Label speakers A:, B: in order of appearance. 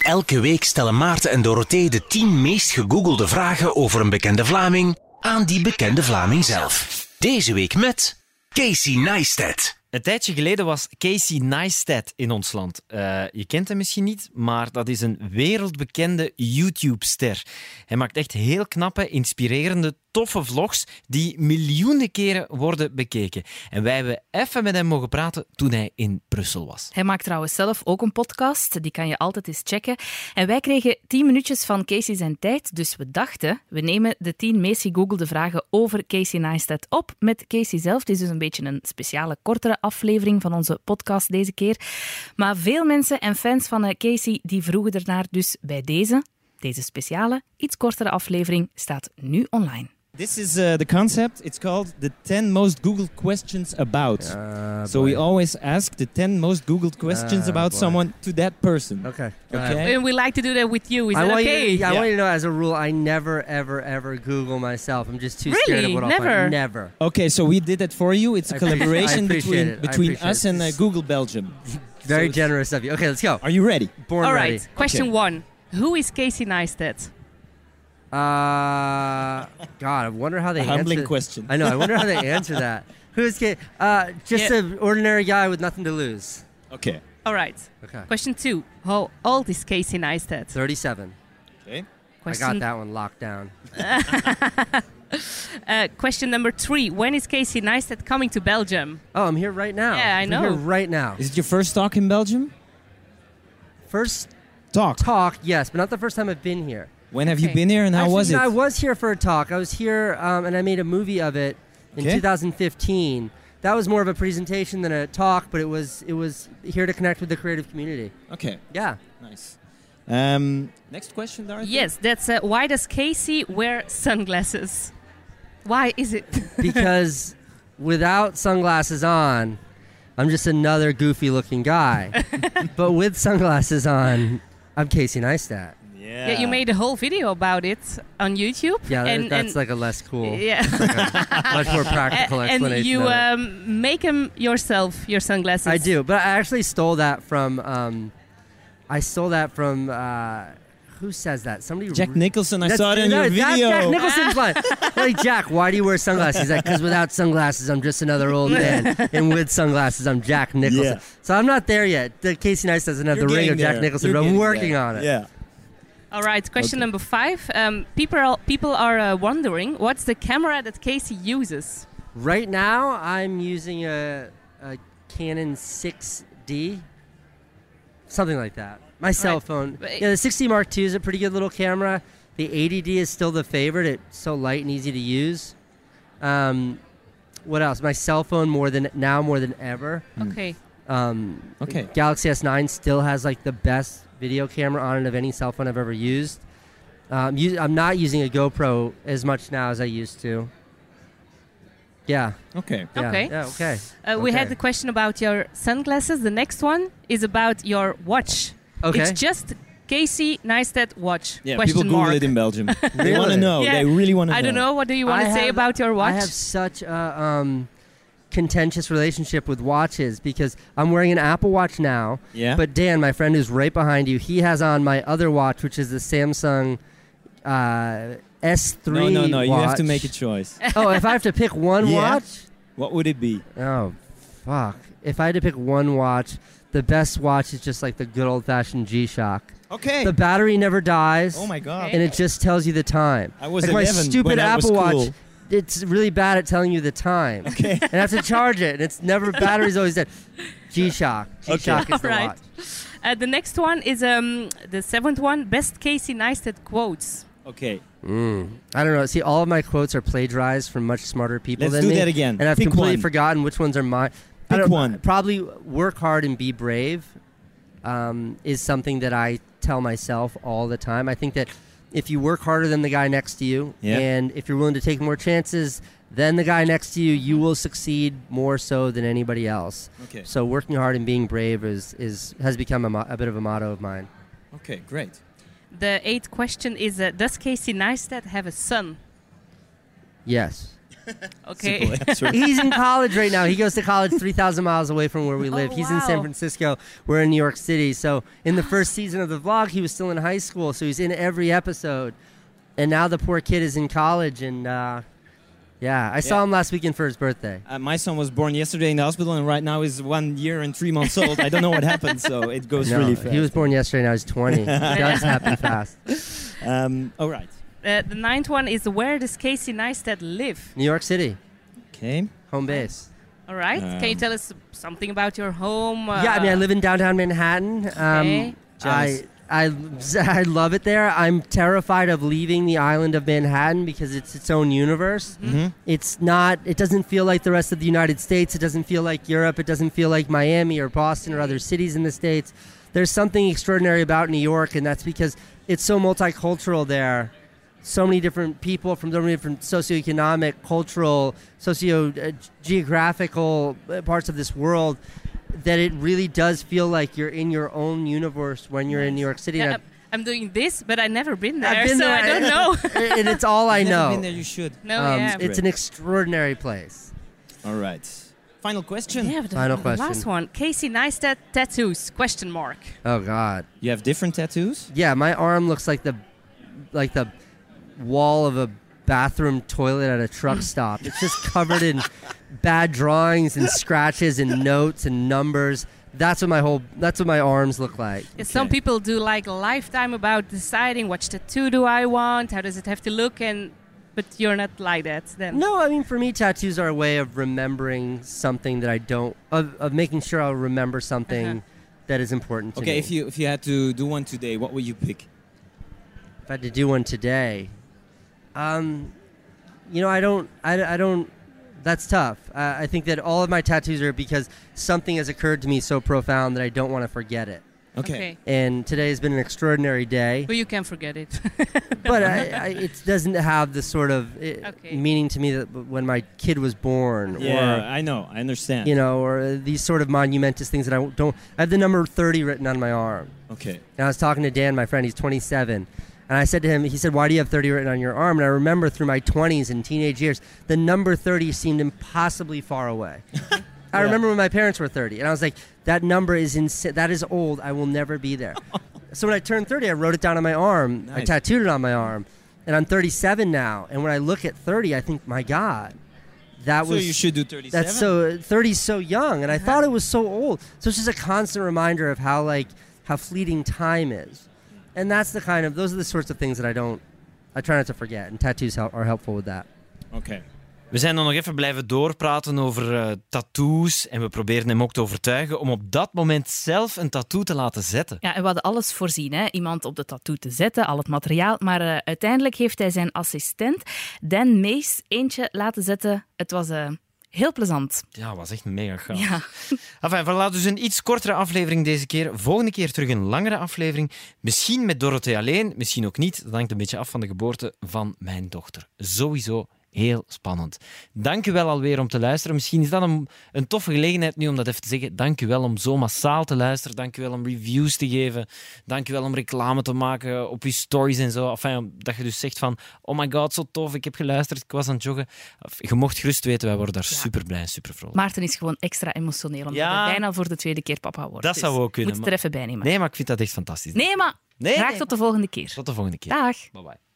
A: Elke week stellen Maarten en Dorothee de 10 meest gegoogelde vragen over een bekende Vlaming aan die bekende Vlaming zelf. Deze week met Casey Neistat.
B: Een tijdje geleden was Casey Neistat in ons land. Eh, je kent hem misschien niet, maar dat is een wereldbekende YouTube-ster. Hij maakt echt heel knappe, inspirerende, toffe vlogs die miljoenen keren worden bekeken. En wij hebben even met hem mogen praten toen hij in Brussel was.
C: Hij maakt trouwens zelf ook een podcast, die kan je altijd eens checken. En wij kregen 10 minuutjes van Casey zijn tijd, dus we dachten, we nemen de 10 meest gegoogelde vragen over Casey Neistat op met Casey zelf. Dit is dus een beetje een speciale, kortere aflevering van onze podcast deze keer. Maar veel mensen en fans van eh, Casey die vroegen ernaar, dus bij deze, deze speciale, iets kortere aflevering staat nu online.
D: This is uh, the concept. It's called the 10 most Googled questions about.
E: Uh,
D: so we always ask the 10 most Googled questions
E: Ah,
D: about
E: boy.
D: someone to that person.
E: Okay.
D: Okay?
F: And we like to do that with you. Is
E: I
F: that
E: want
F: okay?
E: you. To, I want you to know, as a rule, I never, ever, ever Google myself. I'm just too scared of
F: Really?
E: what I'll
F: Never?
E: find. Never.
D: Okay, so we did that for you. It's a
E: I appreciate-
D: collaboration
E: I appreciate
D: between
E: it. I
D: between
E: appreciate
D: us
E: it.
D: and uh, Google Belgium.
E: Very
D: it's-
E: generous of you. Okay, let's go.
D: Are you ready?
E: Born
F: All
E: ready.
F: right. Question one. Who is Casey Neistat?
E: Uh, God, I wonder how they
D: A humbling
E: answer-
D: question.
E: I know. I wonder how they answer that. Who's kid? Uh, just
F: Yeah.
E: an ordinary guy with nothing to lose.
D: Okay.
F: All right.
E: Okay.
F: Question two. How old is Casey Neistat?
E: Thirty-seven.
D: Okay.
F: Question,
E: I got that one locked down.
F: Uh, question number three. When is Casey Neistat coming to Belgium?
E: Oh, I'm here right now.
F: Yeah, I
E: I'm
F: know.
E: Here right now.
D: Is it your first talk in Belgium?
E: First
D: Talk.
E: talk, yes, but not the first time I've been here.
D: When have you
F: Okay.
D: been here and how
E: Actually,
D: was
E: you
D: it?
E: know, I was here for a talk. I was here um, and I made a movie of it in
D: Okay.
E: 2015. That was more of a presentation than a talk, but it was it was here to connect with the creative community.
D: okay.
E: Yeah.
D: Nice. Um, next question, Dorothy.
F: Yes, that's uh, why does Casey wear sunglasses? Why is it?
E: Because without sunglasses on, I'm just another goofy looking guy. but with sunglasses on, I'm Casey Neistat.
F: yeah. you made a whole video about it on YouTube.
E: Uh, Yeah, that,
F: and,
E: that's
F: and-
E: like a less cool,
F: yeah.
E: much more practical
F: and
E: explanation.
F: you
E: of it.
F: um, make them yourself, your sunglasses.
E: I do, but I actually stole that from. Um, I stole that from. Uh, who says that? Somebody.
D: Jack
E: re-
D: Nicholson, I
E: That's-
D: saw it in
E: no,
D: your
E: that's
D: video.
E: Jack Nicholson's line. Like Jack, why do you wear sunglasses? He's like, because without sunglasses, I'm just another old man, and with sunglasses, I'm Jack Nicholson.
D: Yeah.
E: So I'm not there yet. The Casey Nice doesn't have
D: You're
E: the ring
D: getting
E: of Jack
D: there.
E: Nicholson,
D: You're
E: but I'm
D: getting
E: working
D: there.
E: on it.
D: Yeah.
F: All right, question
D: Okay.
F: number five. Um, people are, people are uh, wondering what's the camera that Casey uses.
E: Right now, I'm using a, a Canon 6D, something like that. My cell
F: Alright.
E: phone.
F: Wait.
E: Yeah, the 6D Mark II is a pretty good little camera. The 80D is still the favorite. It's so light and easy to use. Um, what else? My cell phone more than now more than ever.
F: Okay.
E: Um,
D: Okay.
E: Galaxy S9 still has like the best video camera on it of any cell phone I've ever used. Um, u- I'm not using a GoPro as much now as I used to. Yeah.
D: Okay.
E: Yeah,
F: Okay.
E: Yeah, okay.
F: Uh, We had
E: Okay.
F: the question about your sunglasses. The next one is about your watch.
E: Okay.
F: It's just Casey Neistat watch.
D: Yeah,
F: question
D: people Google
F: mark.
D: it in Belgium. They want to
E: Really?
D: know.
F: Yeah.
D: They really want to know.
F: I don't know. What do you want
E: I
F: to say
E: have-
F: about your watch?
E: I have such a um, contentious relationship with watches because I'm wearing an Apple Watch now.
D: Yeah.
E: But Dan, my friend who's right behind you, he has on my other watch, which is the Samsung uh, S3.
D: no, no, no. You have to
E: watch.
D: make a choice.
E: oh, if I have to pick one
D: Yeah.
E: watch?
D: What would it be?
E: Oh, fuck. If I had to pick one watch, the best watch is just like the good old fashioned G Shock.
D: Okay.
E: The battery never dies.
D: oh my god.
E: and it just tells you the time.
D: I was
E: like my
D: 11
E: stupid
D: when I was
E: Apple Watch.
D: cool.
E: It's really bad at telling you the time. Okay. and I have to charge it, and it's never battery's always dead. G-Shock. G-Shock is the
F: Alright.
E: watch.
F: Uh, the next one is um, the seventh one. Best Casey Neistat quotes.
D: Okay.
E: Mm. I don't know. See, all of my quotes are plagiarized from much smarter people
D: Let's
E: than
D: do
E: me,
D: that again.
E: And I've
D: Pick
E: completely
D: one.
E: forgotten which ones are mine. I
D: Pick
E: don't-
D: one.
E: Probably work hard and be brave um, is something that I tell myself all the time. I think that if you work harder than the guy next to you,
D: Yeah.
E: and if you're willing to take more chances than the guy next to you, you
D: Mm-hmm.
E: will succeed more so than anybody else.
D: Okay.
E: So working hard and being brave is, is has become a, mo- a bit of a motto of mine.
D: Okay. Great.
F: The eighth question is uh, Does Casey Neistat have a son?
E: Yes.
F: Okay.
E: He's in college right now. He goes to college 3,000 miles away from where we live.
F: Oh,
E: He's in San
F: wow.
E: Francisco. We're in New York City. So in the first season of the vlog, he was still in high school. So he's in every episode. And now the poor kid is in college. And uh, yeah, I saw
D: Yeah.
E: him last weekend for his birthday.
D: Uh, my son was born yesterday in the hospital, and right now is one year and three months old. I don't know what happened, so it goes
E: No,
D: really fast.
E: He was born yesterday. Now he's 20. it does happen fast.
D: um, all right.
E: eh?
F: Uh, the ninth one is where does Casey Neistat live?
E: New York City,
D: Okay.
E: home base.
F: All right.
E: Ah.
F: Can you
D: Um,
F: tell us something about your home?
E: yeah, I mean, I
F: uh,
E: live in downtown Manhattan.
F: Okay.
E: Um,
D: Jealous.
E: I, I, I love it there. I'm terrified of leaving the island of Manhattan because it's its own universe.
B: Mm-hmm.
D: Mhm.
E: It's not, it doesn't feel like the rest of the United States. It doesn't feel like Europe. It doesn't feel like Miami or Boston or other cities in the States. There's something extraordinary about New York, and that's because it's so multicultural there. So many different people from so many different socioeconomic, cultural, socio uh, geographical uh, parts of this world that it really does feel like you're in your own universe when you're in New York City.
F: yeah,
E: And
F: I'm, I'm doing this, but I've never been there,
E: I've been
F: so
E: there.
F: I don't know.
E: I- and it's all I
D: Never
E: know.
D: Been there, you should.
F: no,
E: Um,
F: Oh, yeah.
E: It's an extraordinary place.
D: All right. Final question.
F: yeah, but the
E: Final
F: the
E: question.
F: last one. Casey Neistat tattoos? Question mark.
E: Oh God.
D: You have different tattoos.
E: Yeah, my arm looks like the like the wall of a bathroom toilet at a truck stop. It's just covered in bad drawings and scratches and notes and numbers. That's what my whole that's what my arms look like.
F: Yeah, Some
D: Okay.
F: people do like a lifetime about deciding which tattoo do I want, how does it have to look, and but you're not like that then.
E: No, I mean for me tattoos are a way of remembering something that I don't of, of making sure I'll remember something
F: Uh-huh.
E: that is important to me.
D: Okay. If you if you had to do one today, what would you pick?
E: if I had to do one today, um, you know, I don't, I, I don't. That's tough. Uh, I think that all of my tattoos are because something has occurred to me so profound that I don't want to forget it.
D: Okay.
E: And today has been an extraordinary day,
F: But you can forget it.
E: but I, I, it doesn't have the sort of uh
F: Okay.
E: meaning to me that when my kid was born,
D: Yeah, I know. I
E: or
D: understand.
E: you know, or uh, these sort of monumentous things that I don't. I have the number thirty written on my arm.
D: Okay.
E: And I was talking to Dan, my friend, he's 27. And I said to him, he said, Why do you have 30 written on your arm? And I remember through my 20s and teenage years, the number 30 seemed impossibly far away. I
D: Yeah.
E: remember when my parents were 30, and I was like, That number is insi- that is old. I will never be there. so when I turned 30, I wrote it down on my arm. I
D: Nice.
E: tattooed it on my arm. And I'm 37 now. And when I look at 30, I think, My God, that
D: so
E: was.
D: you should do thirty-seven.
E: That's so 30 is so young, and I thought it was so old. So it's just a constant reminder of how like how fleeting time is, and that's the kind of those are the sorts of things that I don't. I try not to forget, and tattoos help, are helpful with that.
D: Okay.
B: We zijn dan nog even blijven doorpraten over eh, tattoos. En we proberen hem ook te overtuigen om op dat moment zelf een tattoo te laten zetten.
C: Ja, en we hadden alles voorzien. Hè? Iemand op de tattoo te zetten, al het materiaal. Maar eh, uiteindelijk heeft hij zijn assistent, Dan Mees, eentje laten zetten. Het was eh, heel plezant.
B: Ja, was echt mega gaaf.
C: Ja.
B: Enfin, voilà, dus een iets kortere aflevering deze keer. Volgende keer terug een langere aflevering. Misschien met Dorothee alleen, misschien ook niet. Dat hangt een beetje af van de geboorte van mijn dochter. Sowieso heel spannend. Dank u wel alweer om te luisteren. Misschien is dat een, een toffe gelegenheid nu om dat even te zeggen. Dank u wel om zo massaal te luisteren. Dank u wel om reviews te geven. Dank u wel om reclame te maken op uw stories en zo. Enfin, dat je dus zegt van, oh my god, zo tof, ik heb geluisterd, ik was aan het joggen. Je mocht gerust weten, wij worden daar super blij en super vrolijk.
C: Maarten is gewoon extra emotioneel, omdat
B: Ja.
C: hij bijna voor de tweede keer papa wordt.
B: Dat zou
C: Dus
B: ook kunnen,
C: Moet het er even bij nemen.
B: Nee, maar ik vind dat echt fantastisch.
C: Nee, maar
B: Nee,
C: graag
B: nee.
C: tot de volgende keer.
B: Tot de volgende keer.
C: Dag.
B: Bye bye.